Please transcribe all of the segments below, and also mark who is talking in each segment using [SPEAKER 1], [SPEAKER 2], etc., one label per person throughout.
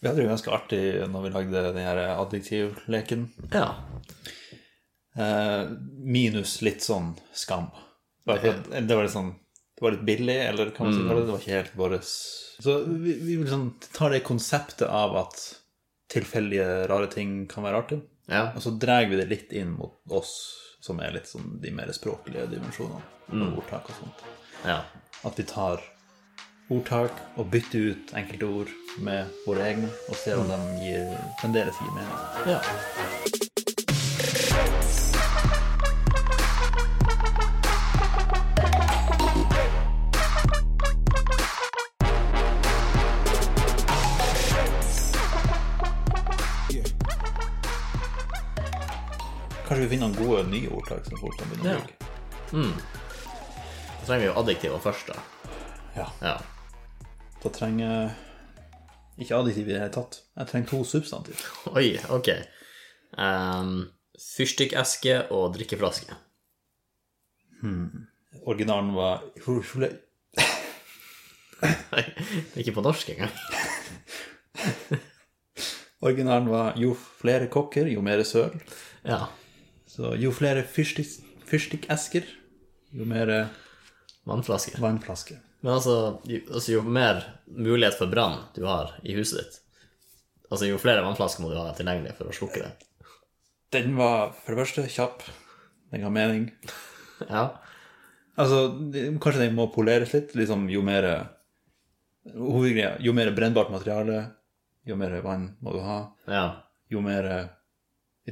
[SPEAKER 1] Vi hadde det jo ganske artig når vi lagde den her adjektivleken.
[SPEAKER 2] Ja.
[SPEAKER 1] Eh, minus litt sånn skam. Det var, akkurat- det var litt sånn Det var litt billig, eller hva man skal kalle det. Det var ikke helt vårt Så vi, vi vil sånn ta det konseptet av at tilfeldige, rare ting kan være artig,
[SPEAKER 2] ja.
[SPEAKER 1] og så drar vi det litt inn mot oss, som er litt sånn de mer språklige dimensjonene. og Ordtak og sånt.
[SPEAKER 2] ja.
[SPEAKER 1] At vi tar ordtak og bytter ut enkelte ord med våre egne, og ser om de gir, fremdeles gir mening.
[SPEAKER 2] ja.
[SPEAKER 1] Kanskje vi finner noen gode nye ordtak som folk kan begynne å
[SPEAKER 2] Ja.
[SPEAKER 1] bruke.
[SPEAKER 2] Da trenger vi jo adjektiver først, da.
[SPEAKER 1] Ja.
[SPEAKER 2] Ja.
[SPEAKER 1] Da trenger jeg ikke adjektiv i det hele tatt. Jeg trenger to substantiv.
[SPEAKER 2] Oi, ok. Um, Fyrstikkeske og drikkeflaske.
[SPEAKER 1] Originalen var
[SPEAKER 2] Nei, ikke på norsk engang.
[SPEAKER 1] Originalen var 'jo flere kokker, jo mer søl'.
[SPEAKER 2] Ja.
[SPEAKER 1] Så jo flere fyrstikk- fyrstikkesker, jo mer
[SPEAKER 2] Vannflaske.
[SPEAKER 1] vannflasker.
[SPEAKER 2] Men altså jo, altså, jo mer mulighet for brann du har i huset ditt, altså jo flere vannflasker må du ha tilgjengelig for å slukke det.
[SPEAKER 1] Den var for det første kjapp. Den ga mening.
[SPEAKER 2] Ja.
[SPEAKER 1] Altså, det- kanskje den må poleres litt. Liksom, jo mer eh, Hovedgreia jo mer brennbart materiale, jo mer vann må du ha.
[SPEAKER 2] Ja.
[SPEAKER 1] Jo mer eh,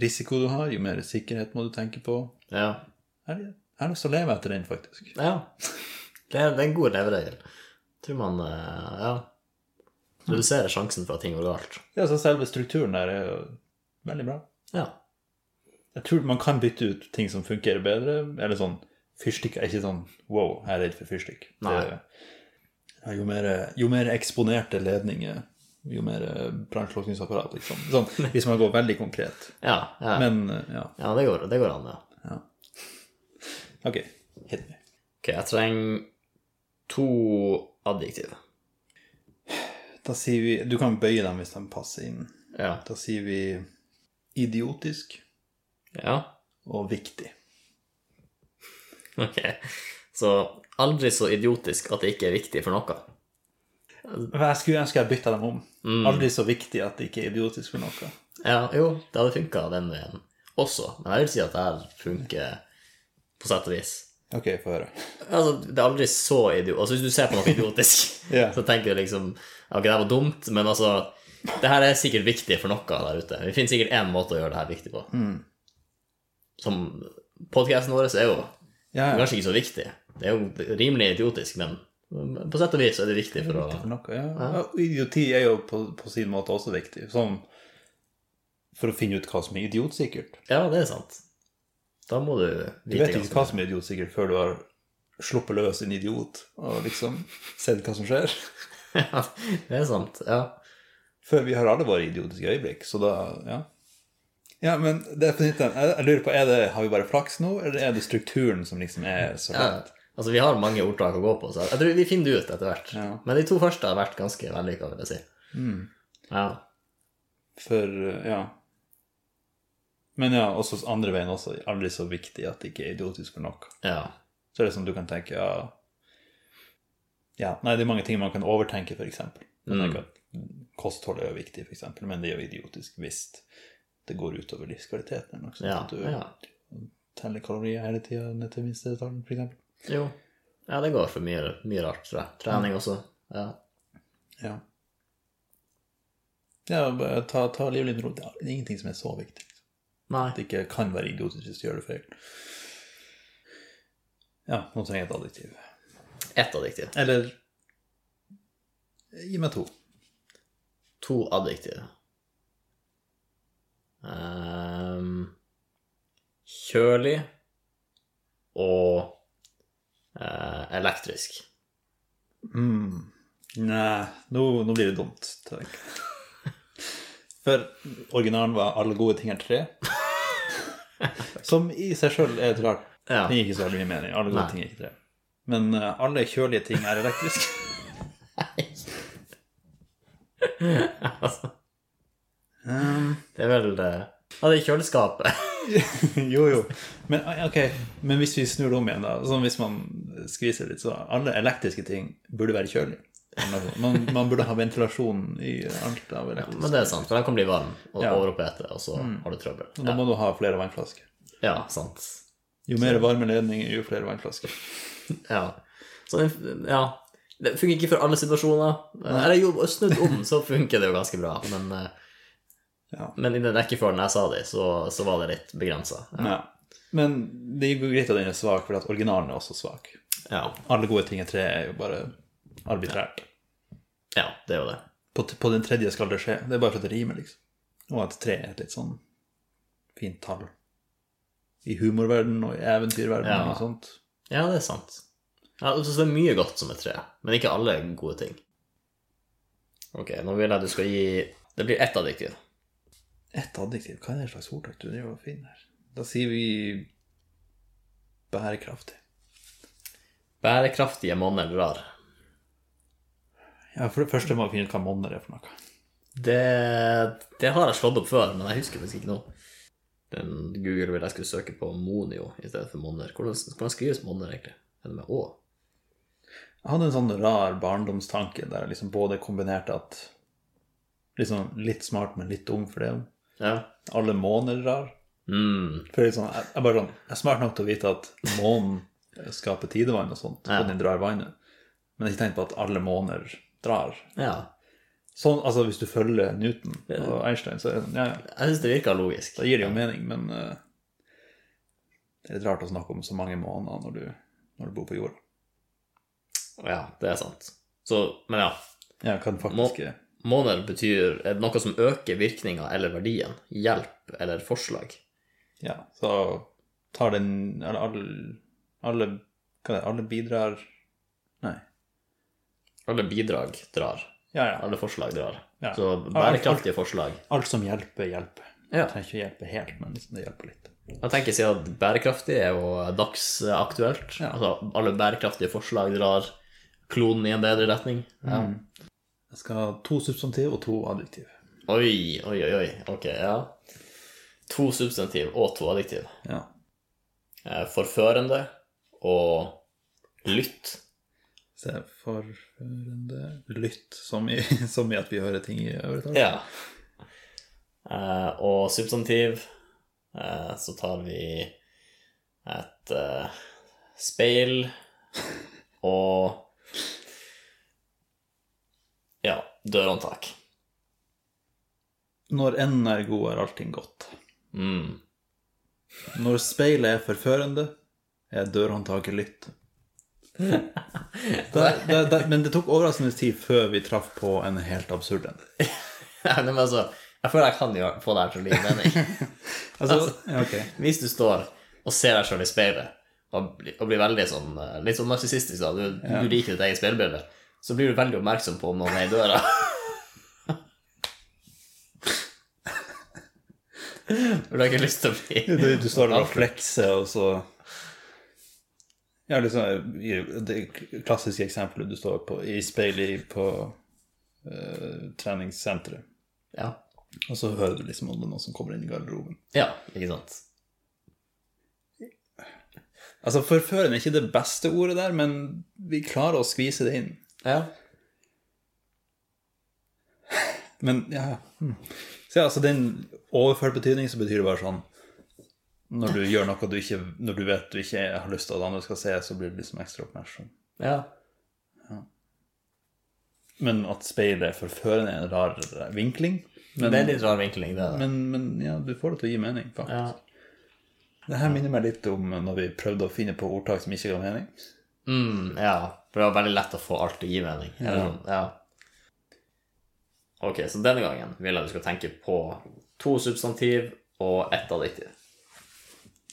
[SPEAKER 1] risiko du har, jo mer sikkerhet må du tenke på.
[SPEAKER 2] Ja.
[SPEAKER 1] Jeg har- jeg har lyst til å leve etter den, faktisk.
[SPEAKER 2] ja. Det, er, det er en god leveregel. Tror man eh, Ja. Reduserer sjansen for at ting går galt.
[SPEAKER 1] Ja, så Selve strukturen der er jo veldig bra.
[SPEAKER 2] Ja.
[SPEAKER 1] Jeg tror man kan bytte ut ting som fungerer bedre. Eller sånn Fyrstikk er ikke sånn Wow, jeg er redd for fyrstikk. Det-
[SPEAKER 2] Nei.
[SPEAKER 1] Ja, jo, mer, jo mer eksponerte ledninger, jo mer eh, brannslukningsapparat, liksom. Sånn, hvis man går veldig konkret.
[SPEAKER 2] Ja, ja.
[SPEAKER 1] Men eh, ja,
[SPEAKER 2] ja det, går, det går an, ja.
[SPEAKER 1] OK. Hit me.
[SPEAKER 2] Ok, jeg trenger to adjektiv.
[SPEAKER 1] Da sier vi Du kan bøye dem hvis de passer inn.
[SPEAKER 2] Ja.
[SPEAKER 1] Da sier vi idiotisk
[SPEAKER 2] ja.
[SPEAKER 1] og viktig.
[SPEAKER 2] Ok. Så aldri så idiotisk at det ikke er viktig for noe.
[SPEAKER 1] Men Jeg skulle ønske jeg bytta dem om.
[SPEAKER 2] Mm.
[SPEAKER 1] Aldri så viktig at det ikke er idiotisk for noe.
[SPEAKER 2] Ja, jo, det hadde funka den veien også, men jeg vil si at det her funker på sett og vis.
[SPEAKER 1] OK, få høre.
[SPEAKER 2] Altså, det er aldri så idiot... Altså, hvis du ser på noe idiotisk,
[SPEAKER 1] Ja.
[SPEAKER 2] så tenker du liksom ja, Ok, det her var dumt, men altså Det her er sikkert viktig for noe der ute. Vi finner sikkert én måte å gjøre det her viktig på.
[SPEAKER 1] Mm.
[SPEAKER 2] Som podkasten vår er jo
[SPEAKER 1] Ja, ja.
[SPEAKER 2] kanskje ikke så viktig. Det er jo rimelig idiotisk, men på sett og vis er det viktig for å
[SPEAKER 1] for noe. Ja. Ja, Idioti er jo på, på sin måte også viktig, sånn for å finne ut hva som er idiotsikkert.
[SPEAKER 2] Ja, det er sant. Da må du
[SPEAKER 1] Du vet
[SPEAKER 2] ganske
[SPEAKER 1] ikke hva som er idiotsikkert før du har sluppet løs en idiot og liksom sett hva som skjer.
[SPEAKER 2] Ja, det er sant. Ja.
[SPEAKER 1] Før vi har alle våre idiotiske øyeblikk, så da Ja. Ja, men det er på nytt igjen. Jeg jeg lurer på, er det, Har vi bare flaks nå, eller er det strukturen som liksom er så
[SPEAKER 2] ja.
[SPEAKER 1] lett?
[SPEAKER 2] Altså, vi har mange ordtak å gå på, så jeg tror vi finner det ut etter hvert.
[SPEAKER 1] Ja. Mm.
[SPEAKER 2] Men de to første har vært ganske vellykka, vil jeg si. Ja.
[SPEAKER 1] For Ja. Men ja, også andre veien også. Aldri så viktig at det ikke er idiotisk for noe.
[SPEAKER 2] ja.
[SPEAKER 1] Så er det som du kan tenke ja, ja, Nei, det er mange ting man kan overtenke, f.eks. Mm. Kosthold er jo viktig, f.eks., men det er jo idiotisk hvis det går utover livskvaliteten. eller noe sånt,
[SPEAKER 2] Mm. Ja.
[SPEAKER 1] at du
[SPEAKER 2] ja.
[SPEAKER 1] teller kalorier hele tida ned til minste detalj, f.eks.
[SPEAKER 2] Jo. Ja, det går for mye, mye rart, tror jeg. Trening også. Ja.
[SPEAKER 1] Ja. ja, bare ta, ta livet litt med ro. Det er ingenting som er så viktig.
[SPEAKER 2] Nei.
[SPEAKER 1] At det ikke kan være idiotisk hvis du gjør det feil. Ja, nå trenger jeg et adjektiv.
[SPEAKER 2] Ett adjektiv.
[SPEAKER 1] Eller gi meg to.
[SPEAKER 2] To adjektiv. Ehm, kjølig og eh, elektrisk.
[SPEAKER 1] Nei, nå, nå blir det dumt, tenker jeg. For originalen var 'Alle gode ting er tre'. Som i seg sjøl er et rart.
[SPEAKER 2] Ja.
[SPEAKER 1] Det gir ikke så veldig mye mening. Alle gode
[SPEAKER 2] Nei.
[SPEAKER 1] ting er ikke tre. Men eh, alle kjølige ting er elektriske.
[SPEAKER 2] Altså,
[SPEAKER 1] Um,
[SPEAKER 2] Det er vel eh, Ja, det er kjøleskapet.
[SPEAKER 1] jo, jo. Men, ok, men hvis vi snur det om igjen, da. Sånn hvis man skviser litt, så alle elektriske ting burde være kjølig. Man, man burde ha ventilasjon i alt av elektrisk.
[SPEAKER 2] Men det er sant, for den kan bli varm og
[SPEAKER 1] Ja. Mm.
[SPEAKER 2] overopphete, og så har du trøbbel.
[SPEAKER 1] Og da må du ha flere vannflasker.
[SPEAKER 2] Ja, sant.
[SPEAKER 1] Jo mer varme ledninger, jo flere vannflasker.
[SPEAKER 2] Ja. Så den, ja. Det funker ikke for alle situasjoner. Eh, Eller jo, snudd om, så funker det jo ganske bra. Men, eh,
[SPEAKER 1] Ja.
[SPEAKER 2] men i den rekkefølgen jeg sa det, så, så var det litt begrensa.
[SPEAKER 1] Ja. Men det går greit at den er svak, for at originalen er også svak.
[SPEAKER 2] Ja.
[SPEAKER 1] Alle gode ting i tre er jo bare arbitrært.
[SPEAKER 2] ja, det er jo det.
[SPEAKER 1] På, t- på den tredje skal det skje. Det er bare for at det rimer, liksom. Og at tre er et litt sånn fint tall. I humorverdenen og i eventyrverdenen
[SPEAKER 2] Ja.
[SPEAKER 1] og noe sånt.
[SPEAKER 2] Ja, det er sant. Ja, altså, så det er mye godt som et tre, men ikke alle gode ting. Ok, nå vil jeg du skal gi Det blir ett adjektiv.
[SPEAKER 1] Ett adjektiv? Hva er det slags ordtak du driver og finner? Da sier vi bærekraftig.
[SPEAKER 2] Bærekraftige monner drar.
[SPEAKER 1] Ja, for det første må vi finne ut hva monner er for noe.
[SPEAKER 2] Det, det har jeg slått opp før, men jeg husker faktisk ikke nå. Den Google ville jeg skulle søke på Monio i stedet for monner. Hvordan, hvordan skrives monner, egentlig? Er det med Å?
[SPEAKER 1] Jeg hadde en sånn rar barndomstanke der jeg liksom både kombinerte at liksom litt smart, men litt ung for det.
[SPEAKER 2] Ja.
[SPEAKER 1] Alle måner rar.
[SPEAKER 2] Mm,
[SPEAKER 1] For liksom, jeg, jeg, bare sånn, jeg er smart nok til å vite at månen skaper tidevann og sånt,
[SPEAKER 2] Ja.
[SPEAKER 1] og den drar vannet. Men jeg har ikke tenkt på at alle måner drar.
[SPEAKER 2] ja.
[SPEAKER 1] Sånn, altså Hvis du følger Newton og Einstein, så er det sånn, ja, ja.
[SPEAKER 2] Jeg syns det virka logisk.
[SPEAKER 1] Da gir det jo mening, men eh, det er litt rart å snakke om så mange måneder når du, når du bor på jorda.
[SPEAKER 2] Ja, det er sant. Så, men ja.
[SPEAKER 1] Ja, hva den faktisk er.
[SPEAKER 2] Måner betyr er det noe som øker virkninga eller verdien, hjelp eller forslag.
[SPEAKER 1] Ja, så tar den eller alle, alle, hva er det, alle bidrar Nei.
[SPEAKER 2] Alle bidrag drar.
[SPEAKER 1] Ja, ja.
[SPEAKER 2] Alle forslag drar.
[SPEAKER 1] Ja.
[SPEAKER 2] Så bærekraftige forslag.
[SPEAKER 1] Alt som hjelper, hjelper. Det
[SPEAKER 2] Ja.
[SPEAKER 1] trenger ikke å hjelpe helt, men liksom det hjelper litt.
[SPEAKER 2] Jeg tenker siden at bærekraftig er jo dagsaktuelt.
[SPEAKER 1] Ja.
[SPEAKER 2] Altså, alle bærekraftige forslag drar kloden i en bedre retning. Ja.
[SPEAKER 1] Mm. Jeg skal ha to substantiv og to adjektiv.
[SPEAKER 2] Oi, oi, oi, oi. Ok, ja. To substantiv og to adjektiv.
[SPEAKER 1] Ja.
[SPEAKER 2] Eh, Forførende og lytt.
[SPEAKER 1] Se, forførende lytt, som i, som i at vi hører ting i øret.
[SPEAKER 2] Ja. Eh, og substantiv eh, så tar vi et eh, speil og ja, dørhåndtak.
[SPEAKER 1] Når enden er god, er allting godt.
[SPEAKER 2] Mm.
[SPEAKER 1] Når speilet er forførende, er dørhåndtaket lytt. Der, der, der, men det tok overraskende tid før vi traff på en helt absurd en.
[SPEAKER 2] Ja, men altså, jeg føler jeg kan jo få det her til å bli mening.
[SPEAKER 1] Altså, ja, ok.
[SPEAKER 2] Hvis du står og ser deg sjøl i speilet og blir, og blir veldig sånn eh, litt sånn narsissistisk, da, du, du liker ditt eget speilbilde, så blir du veldig oppmerksom på om noen er i døra. For du har ikke lyst til å bli
[SPEAKER 1] du, du står der og flekser, og så Ja, liksom i- Det klassiske eksempelet du står på i speilet i- på eh, treningssenteret,
[SPEAKER 2] Ja.
[SPEAKER 1] og så hører du liksom om det er noen som kommer inn i garderoben.
[SPEAKER 2] ja, ikke sant?
[SPEAKER 1] Altså, forførende er ikke det beste ordet der, men vi klarer å skvise det inn.
[SPEAKER 2] Ja.
[SPEAKER 1] Men ja hmm. Så ja, altså den overført betydning så betyr det bare sånn Når du gjør noe du ikke Når du vet du ikke har lyst til at andre skal se, så blir du liksom ekstra oppmerksom.
[SPEAKER 2] ja.
[SPEAKER 1] Men at speilet er forførende er en rar vinkling. Men,
[SPEAKER 2] det er litt rar vinkling, det. da.
[SPEAKER 1] men, men ja, du får det til å gi mening,
[SPEAKER 2] Ja.
[SPEAKER 1] faktisk. Det her minner meg litt om når vi prøvde å finne på ordtak som ikke ga mening.
[SPEAKER 2] Mm, ja, for det var veldig lett å få alt til å gi mening. eller sånn, Ja. Ok, så denne gangen vil jeg du skal tenke på to substantiv og ett adjektiv.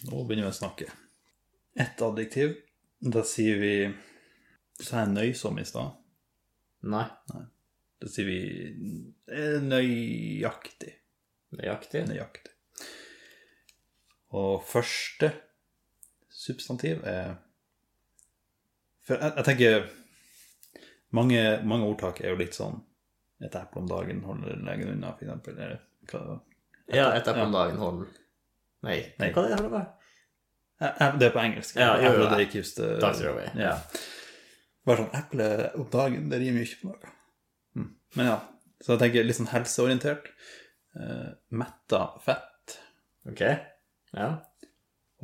[SPEAKER 1] Nå begynner vi å snakke. Ett adjektiv. Da sier vi Sa jeg nøysom i stad?
[SPEAKER 2] Nei,
[SPEAKER 1] Da sier vi eh, nøyaktig.
[SPEAKER 2] nøyaktig.
[SPEAKER 1] Nøyaktig. Og første substantiv er For jeg, jeg tenker mange, mange ordtak er jo litt sånn Et eple om dagen holder legen unna, f.eks. Eller Hva-
[SPEAKER 2] Ja, ett eple om dagen hold Nei,
[SPEAKER 1] Nei.
[SPEAKER 2] hva er det for noe?
[SPEAKER 1] Eh, Det er på engelsk.
[SPEAKER 2] Ja, jo, jo,
[SPEAKER 1] Apple a
[SPEAKER 2] ja.
[SPEAKER 1] day keeps the
[SPEAKER 2] Takk skal du ha.
[SPEAKER 1] Ja. Bare sånn eple om dagen, det rimer jo ikke på noe. Mm. Men ja. Så jeg tenker litt sånn helseorientert. Uh, metta fett
[SPEAKER 2] Ok. Ja.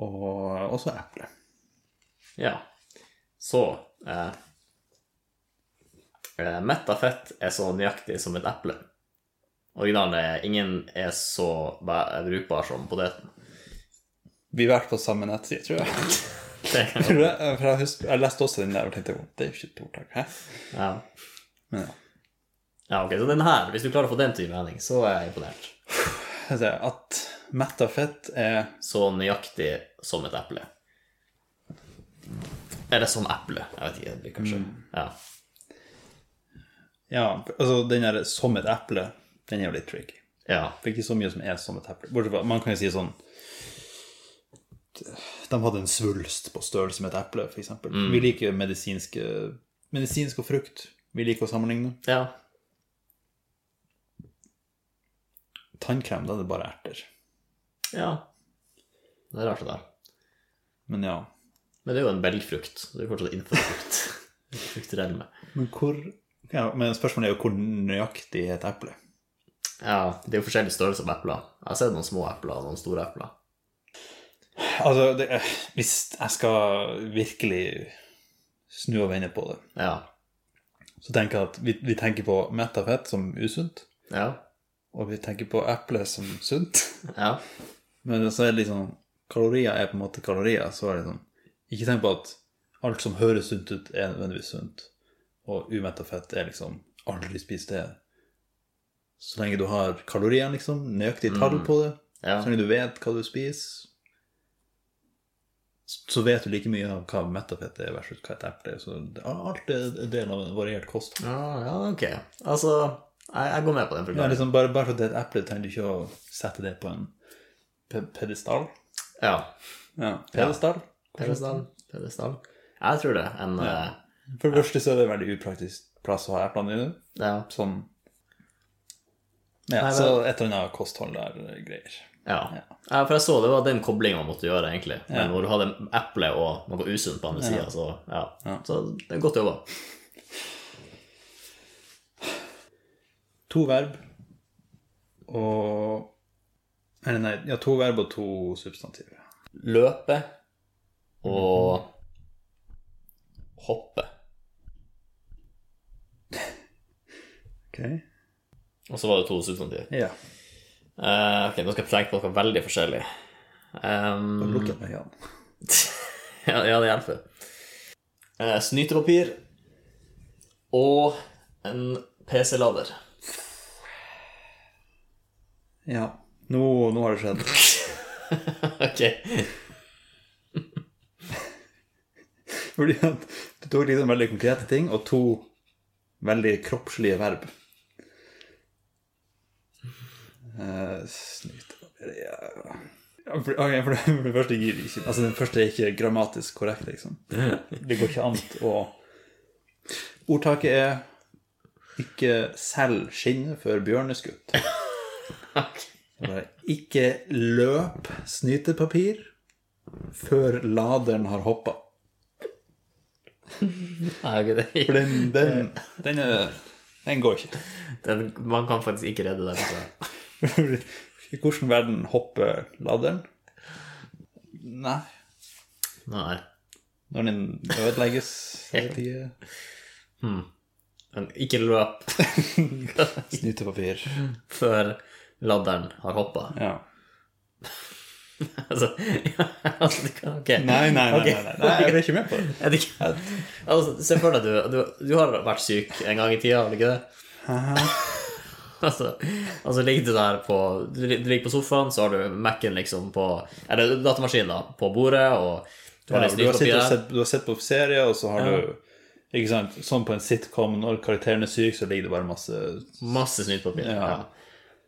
[SPEAKER 1] og også eple.
[SPEAKER 2] Ja. Så eh, eh, Metta fett er så nøyaktig som et eple. Originalen er ingen er så bæ- brukbar som poteten.
[SPEAKER 1] Vi har vært på samme nettside, tror jeg.
[SPEAKER 2] Det kan
[SPEAKER 1] Tror jeg, For jeg, husker, jeg leste også den der og tenkte det er jo ikke et ordtak. Hæ?
[SPEAKER 2] Ja.
[SPEAKER 1] Men ja.
[SPEAKER 2] ja, ok. Så den her, hvis du klarer å få den til mening, så er jeg imponert.
[SPEAKER 1] Jeg ser At metta fett er
[SPEAKER 2] Så nøyaktig som et eple. Eller som eple. Jeg vet ikke, det blir kanskje
[SPEAKER 1] Mm.
[SPEAKER 2] Ja.
[SPEAKER 1] Ja, altså den der som et eple, den er jo litt tricky.
[SPEAKER 2] ja.
[SPEAKER 1] Det er ikke så mye som er som et eple. Bortsett fra Man kan jo si sånn De hadde en svulst på størrelse med et eple, f.eks. eksempel Vi liker medisinske medisinsk og frukt. Vi liker å sammenligne.
[SPEAKER 2] Ja.
[SPEAKER 1] Tannkrem, da er det bare erter.
[SPEAKER 2] ja. Det er rart, det der.
[SPEAKER 1] Men ja.
[SPEAKER 2] Men det er jo en belgfrukt. så Det er jo fortsatt innenfor fruktrelme.
[SPEAKER 1] Men hvor ja, Men spørsmålet er jo hvor nøyaktig er et eple?
[SPEAKER 2] Ja, det er jo forskjellig størrelse på epler. Jeg har sett noen små epler og noen store epler.
[SPEAKER 1] Altså, det, er- hvis jeg skal virkelig snu og vende på det,
[SPEAKER 2] Ja.
[SPEAKER 1] så tenker jeg at vi, vi tenker på metta fett som usunt.
[SPEAKER 2] Ja.
[SPEAKER 1] Og vi tenker på eple som sunt.
[SPEAKER 2] Ja.
[SPEAKER 1] Men så er det liksom Kalorier er på en måte kalorier. Så er det sånn Ikke tenk på at alt som høres sunt ut, er nødvendigvis sunt. Og umetta fett er liksom Aldri spis det. Så lenge du har kalorier, liksom, nøyaktig tall på det,
[SPEAKER 2] Ja.
[SPEAKER 1] så lenge du vet hva du spiser, så vet du like mye av hva metafett er versus hva et eple er. Så det- alt er en del av en variert kost.
[SPEAKER 2] ja, Ah, ja ok. Altså, jeg, jeg går med på
[SPEAKER 1] Ja,
[SPEAKER 2] den forklaringen.
[SPEAKER 1] liksom bare, bare for at det er et eple, trenger du ikke å sette det på en pe- pedestal.
[SPEAKER 2] Ja.
[SPEAKER 1] Ja, pedestal.
[SPEAKER 2] Pedestal. Pedestal. Jeg tror det. En eh,
[SPEAKER 1] For det første så er det en veldig upraktisk plass å ha eplene i.
[SPEAKER 2] ja.
[SPEAKER 1] Sånn ja,
[SPEAKER 2] Nei, men-
[SPEAKER 1] Så et eller annet kosthold der eh, greier.
[SPEAKER 2] Ja. ja, for jeg så det var den koblingen man måtte gjøre, egentlig. Men hvor du hadde eple og noe usunt på andre siden så ja. Så det er godt jobba.
[SPEAKER 1] To verb og Eller nei, ja, to verb og to substantiv.
[SPEAKER 2] Løpe og hoppe.
[SPEAKER 1] Ok.
[SPEAKER 2] Og så var det to substantiv.
[SPEAKER 1] Ja.
[SPEAKER 2] Eh, ok, nå skal jeg tenke på noe veldig forskjellig. Ehm,
[SPEAKER 1] Lukk opp øynene.
[SPEAKER 2] ja, ja, det hjelper. Eh, snytepapir og en PC-lader.
[SPEAKER 1] Ja. Nå, nå har det skjedd.
[SPEAKER 2] ok.
[SPEAKER 1] Fordi at du tok liksom veldig konkrete ting og to veldig kroppslige verb. Uh, snyte ja. Ja, for, ok, for, det, for det første gir det ikke Altså, den første er ikke grammatisk korrekt, liksom. Det går ikke an å Ordtaket er 'ikke selg skinnet før bjørn er skutt'. Så det er, Ikke løp snytepapir før laderen har hoppa.
[SPEAKER 2] Nei, ok, det,
[SPEAKER 1] For den, den, Eh, den, er, den går ikke.
[SPEAKER 2] den, man kan faktisk ikke redde den. tror jeg.
[SPEAKER 1] I hvilken verden hopper laderen? Nei.
[SPEAKER 2] Nei.
[SPEAKER 1] Når den ødelegges jeg vet ikke.
[SPEAKER 2] Men ikke løp
[SPEAKER 1] Snytepapir.
[SPEAKER 2] før ladderen har hoppa.
[SPEAKER 1] Ja.
[SPEAKER 2] altså, ja, altså, det kan- ok.
[SPEAKER 1] Nei, nei, nei,
[SPEAKER 2] Ok.
[SPEAKER 1] nei, nei, nei. Jeg blir ikke med på det.
[SPEAKER 2] Er det ikke altså, Se for deg du, du, du har vært syk en gang i tida, har du ikke det? altså, altså ligger du der på Du du ligger på sofaen, så har du Mac-en liksom på Eller datamaskinen, da, på bordet, og du
[SPEAKER 1] Ja,
[SPEAKER 2] har liksom
[SPEAKER 1] du,
[SPEAKER 2] litt
[SPEAKER 1] har sittet og
[SPEAKER 2] snusepapir.
[SPEAKER 1] sett, du har sett på serie, og så har du ikke sant, Sånn på en sitcom, når karakteren er syk, så ligger det bare masse
[SPEAKER 2] Masse snytepapir.
[SPEAKER 1] Ja.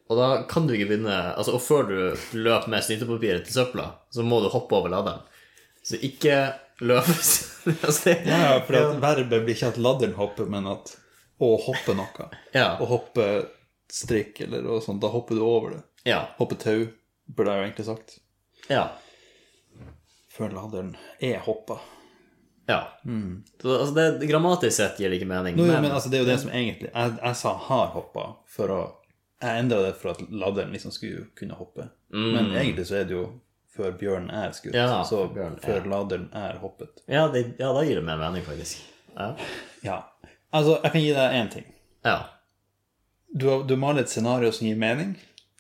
[SPEAKER 2] Og da kan du ikke begynne altså, Og før du løper med snytepapiret til søpla, så må du hoppe over laderen. Så ikke løp altså, det-
[SPEAKER 1] Ja, for at verbet blir ikke at ladderen hopper, men at å hoppe noe.
[SPEAKER 2] Ja.
[SPEAKER 1] Å hoppe strikk eller noe sånt, da hopper du over det.
[SPEAKER 2] Ja.
[SPEAKER 1] Hoppe tau, burde jeg jo egentlig sagt.
[SPEAKER 2] Ja.
[SPEAKER 1] Før laderen er hoppa.
[SPEAKER 2] ja. Så, altså, det, grammatisk sett gir det ikke mening,
[SPEAKER 1] Jo, jo,
[SPEAKER 2] men
[SPEAKER 1] Mm. men altså, det er jo det som egentlig Jeg, jeg sa har hoppa for å Jeg endra det for at ladderen liksom skulle kunne hoppe. Men egentlig så er det jo før bjørnen er skutt.
[SPEAKER 2] Mm. Ja,
[SPEAKER 1] så
[SPEAKER 2] før bjørnen er-
[SPEAKER 1] før laderen er hoppet.
[SPEAKER 2] ja, det, ja, da gir det mer mening, faktisk. Ja.
[SPEAKER 1] Ja. Altså, jeg kan gi deg én ting.
[SPEAKER 2] Ja.
[SPEAKER 1] Du, har- du maler et scenario som gir mening,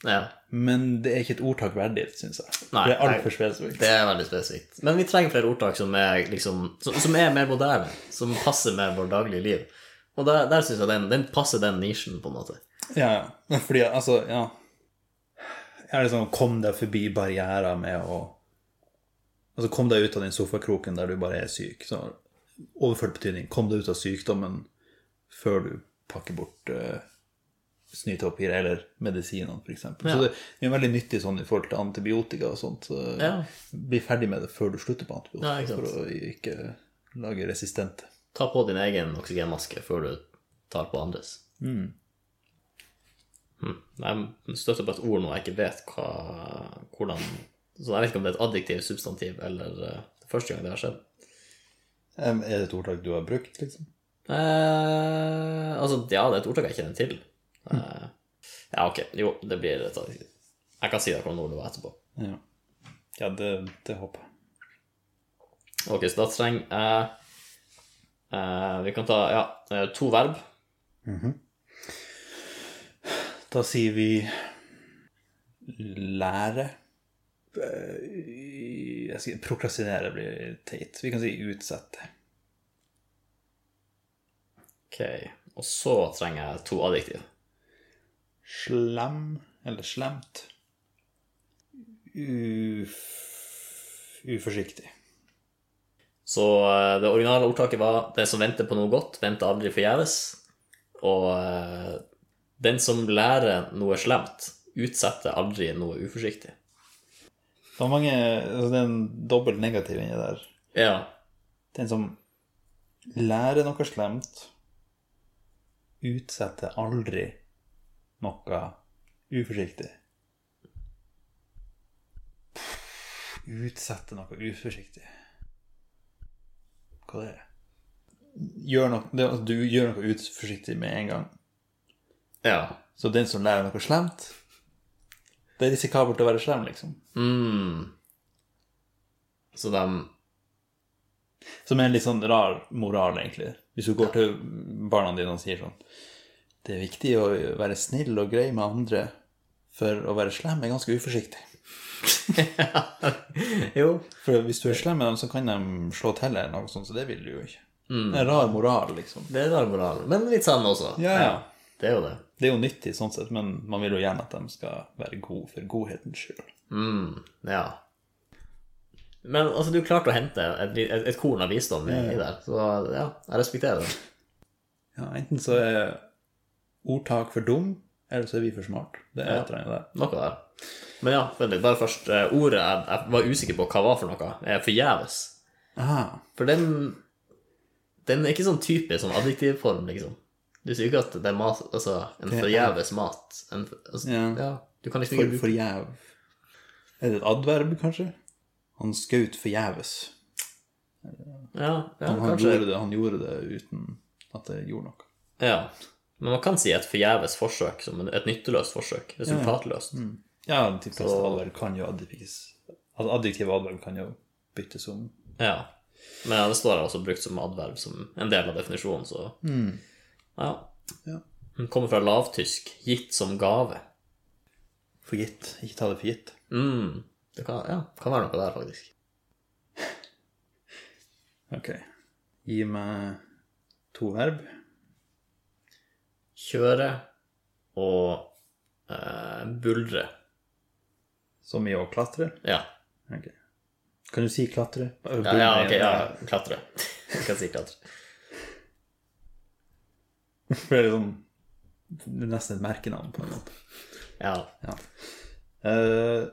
[SPEAKER 2] ja.
[SPEAKER 1] men det er ikke et ordtak verdig, syns jeg.
[SPEAKER 2] Nei,
[SPEAKER 1] det er
[SPEAKER 2] nei.
[SPEAKER 1] altfor spesifikt.
[SPEAKER 2] Det er veldig spesifikt. Men vi trenger flere ordtak som er, liksom, som, som er mer moderne, som passer med vårt daglige liv. Og der, der syns jeg den, den passer den nisjen, på en måte.
[SPEAKER 1] Ja, ja. Fordi altså, ja Jeg er liksom Kom deg forbi barrierer med å Altså, kom deg ut av den sofakroken der du bare er syk. Så overført betydning. Kom deg ut av sykdommen før du pakker bort uh, snytepapir eller medisinene, f.eks. eksempel Så
[SPEAKER 2] Ja.
[SPEAKER 1] det det er veldig nyttig sånn i forhold til antibiotika og sånt. Så
[SPEAKER 2] Ja.
[SPEAKER 1] Bli ferdig med det før du slutter på antibiotika,
[SPEAKER 2] Ja, ikke sant.
[SPEAKER 1] for å ikke lage resistente.
[SPEAKER 2] Ta på din egen oksygenmaske før du tar på andres. Hmm. Jeg støtter på et ord nå jeg ikke vet hva, hvordan Så jeg vet ikke om det er et adjektiv, substantiv eller eh, det er første gang det har skjedd.
[SPEAKER 1] Em, Er det et ordtak du har brukt, liksom?
[SPEAKER 2] Eh, altså, ja, det er et ordtak jeg kjenner til. Eh, ja, ok. Jo, det blir et adjektiv. Jeg kan si deg hvordan ordet var etterpå.
[SPEAKER 1] Ja, ja det, det håper jeg.
[SPEAKER 2] Ok, så da trenger jeg eh, Vi kan ta ja, eh, to verb.
[SPEAKER 1] Da sier vi lære. Eh, Jeg skal, prokrastinere blir teit. Vi kan si utsette.
[SPEAKER 2] Ok, Og så trenger jeg to adjektiv.
[SPEAKER 1] Slem eller slemt. Uf, uforsiktig.
[SPEAKER 2] Så eh, det originale ordtaket var 'Den som venter på noe godt, venter aldri forgjeves'. Og eh, 'Den som lærer noe slemt, utsetter aldri noe uforsiktig'.
[SPEAKER 1] Det, var mange, altså det er en dobbelt negativ inni der.
[SPEAKER 2] Ja.
[SPEAKER 1] Den som lærer noe slemt, utsetter aldri noe uforsiktig. Utsette noe uforsiktig Hva det er gjør noe, det? er at Du gjør noe uforsiktig med en gang.
[SPEAKER 2] ja.
[SPEAKER 1] Så den som lærer noe slemt Det er risikabelt å være slem, liksom.
[SPEAKER 2] Mm. Så de
[SPEAKER 1] Som er en litt sånn rar moral, egentlig. Hvis du går til barna dine og sier sånn Det er viktig å være snill og grei med andre, for å være slem er ganske uforsiktig.
[SPEAKER 2] Jo.
[SPEAKER 1] For hvis du er slem med dem, så kan de slå til eller noe sånt, så det vil du jo ikke. Det er en rar moral, liksom.
[SPEAKER 2] Det er rar moral, men litt sann også.
[SPEAKER 1] Ja, ja.
[SPEAKER 2] Det er jo det.
[SPEAKER 1] Det er jo nyttig sånn sett, men man vil jo gjerne at de skal være gode for godhetens skyld.
[SPEAKER 2] Mm, ja. Men altså, du klarte å hente et, li- et, et korn av visdom i, i der, så ja, jeg respekterer det.
[SPEAKER 1] Ja, enten så er ordtak for dum, eller så er vi for smart. Det er et eller annet der.
[SPEAKER 2] Noe der. Men ja, vent litt, bare først. eh, Ordet jeg, jeg var usikker på hva var for noe, er forgjeves.
[SPEAKER 1] Aha.
[SPEAKER 2] For den, den er ikke sånn typisk sånn adjektivform, liksom. Du sier ikke at det er mat, altså en
[SPEAKER 1] er-
[SPEAKER 2] forgjeves mat. En, for- altså, ja.
[SPEAKER 1] Ja.
[SPEAKER 2] Du kan liksom ikke
[SPEAKER 1] For,
[SPEAKER 2] bruke
[SPEAKER 1] forgjev. Er det et adverb, kanskje? Han skjøt forgjeves.
[SPEAKER 2] Ja, ja
[SPEAKER 1] Han,
[SPEAKER 2] kanskje.
[SPEAKER 1] gjorde det, han gjorde det uten at det gjorde noe.
[SPEAKER 2] Ja. Men man kan si et forgjeves forsøk som en- et nytteløst forsøk. Resultatløst.
[SPEAKER 1] Ja, Mm. de fleste
[SPEAKER 2] Så-
[SPEAKER 1] adverb kan jo adjektives. Altså, adjektiv og adverb kan jo byttes om.
[SPEAKER 2] Ja. Men ja, det står også brukt som adverb som en del av definisjonen, så
[SPEAKER 1] Hmm.
[SPEAKER 2] Ja.
[SPEAKER 1] Ja.
[SPEAKER 2] Den kommer fra lavtysk 'gitt som gave'.
[SPEAKER 1] For gitt. Ikke ta det for gitt.
[SPEAKER 2] Mm. Det kan, ja, kan være noe der, faktisk.
[SPEAKER 1] Ok. Gi meg to verb.
[SPEAKER 2] Kjøre og eh, buldre.
[SPEAKER 1] Som i å klatre.
[SPEAKER 2] Ja.
[SPEAKER 1] Ok. Kan du si klatre?
[SPEAKER 2] Ja, ja, ok, ja. Klatre. Jeg kan si klatre.
[SPEAKER 1] For det er liksom det er nesten et merkenavn på en måte.
[SPEAKER 2] Ja.
[SPEAKER 1] Ja. Eh,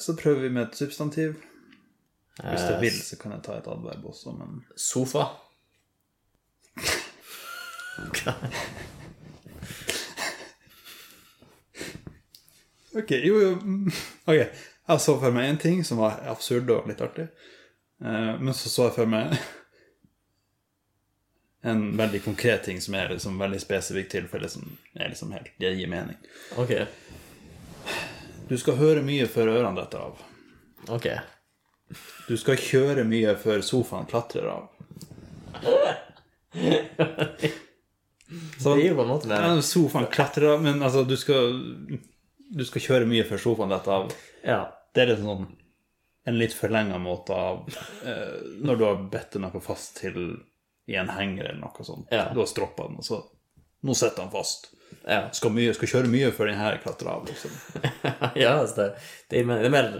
[SPEAKER 1] så prøver vi med et substantiv. Hvis
[SPEAKER 2] Eh,
[SPEAKER 1] du vil, så kan jeg ta et adverb også, men
[SPEAKER 2] Sofa.
[SPEAKER 1] Ok, jo, jo. mm, Ok, jeg så for meg en ting som var absurd og litt artig. Eh, men så så jeg for meg en veldig konkret ting som er liksom veldig spesifikt tilfelle, som er liksom helt, det gir mening.
[SPEAKER 2] Ok.
[SPEAKER 1] Du skal høre mye før ørene detter av.
[SPEAKER 2] Ok.
[SPEAKER 1] Du skal kjøre mye før sofaen klatrer av.
[SPEAKER 2] Det
[SPEAKER 1] Sånn,
[SPEAKER 2] gir jo på en måte
[SPEAKER 1] ja,
[SPEAKER 2] mening.
[SPEAKER 1] sofaen klatrer av, men altså, du skal, du skal kjøre mye før sofaen detter av.
[SPEAKER 2] Ja.
[SPEAKER 1] Det er liksom sånn en litt forlenga måte av eh, Når du har bedt noe fast til i en henger eller noe sånt.
[SPEAKER 2] Ja.
[SPEAKER 1] Du har stroppa den, og så Nå sitter han fast.
[SPEAKER 2] Ja.
[SPEAKER 1] Skal, mye, skal kjøre mye før den her klatrer av, liksom.
[SPEAKER 2] ja altså det, det gir mening. Det er mer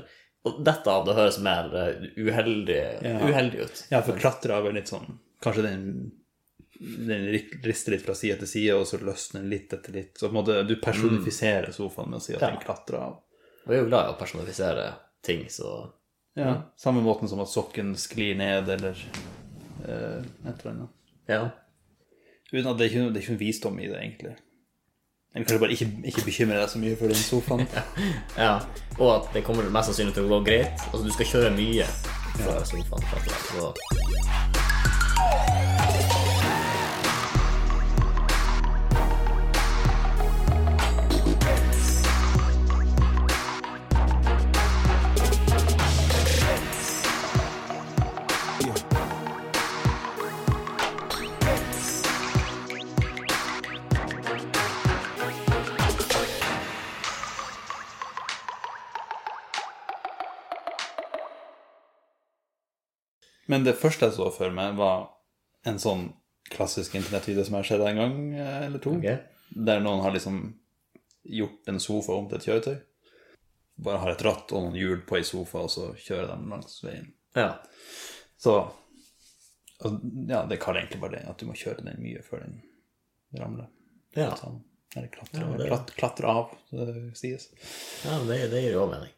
[SPEAKER 2] og dette av det høres mer eh, uheldig,
[SPEAKER 1] Ja.
[SPEAKER 2] uheldig ut.
[SPEAKER 1] Ja, for klatre av er litt sånn Kanskje den, den rik- rister litt fra side til side, og så løsner den litt etter litt. Så på en måte du personifiserer sofaen med å si at
[SPEAKER 2] Ja.
[SPEAKER 1] den klatrer av.
[SPEAKER 2] Og jeg er jo glad i å personifisere ting, så
[SPEAKER 1] Ja, Samme måten som at sokken sklir ned, eller eh, et eller annet.
[SPEAKER 2] ja.
[SPEAKER 1] Uten at det er ikke noe, det er ikke noe visdom i det, egentlig. Eller kanskje bare ikke, ikke bekymre deg så mye for den sofaen.
[SPEAKER 2] ja. Og at det kommer mest sannsynlig til å gå greit. Altså, du skal kjøre mye fra sofaen. for at det- Så.
[SPEAKER 1] Men det første jeg så for meg, var en sånn klassisk internettvideo som jeg har sett en gang eh, eller to.
[SPEAKER 2] Ok.
[SPEAKER 1] Der noen har liksom gjort en sofa om til et kjøretøy. Bare har et ratt og noen hjul på ei sofa, og så kjører de langs veien.
[SPEAKER 2] Ja.
[SPEAKER 1] Så og, Ja, det kaller egentlig bare det, at du må kjøre den mye før den ramler.
[SPEAKER 2] Ja.
[SPEAKER 1] Sånn. Eller klatre,
[SPEAKER 2] Ja, det-
[SPEAKER 1] klat, klatre av, så det sies.
[SPEAKER 2] ja, det, det gir jo også mening.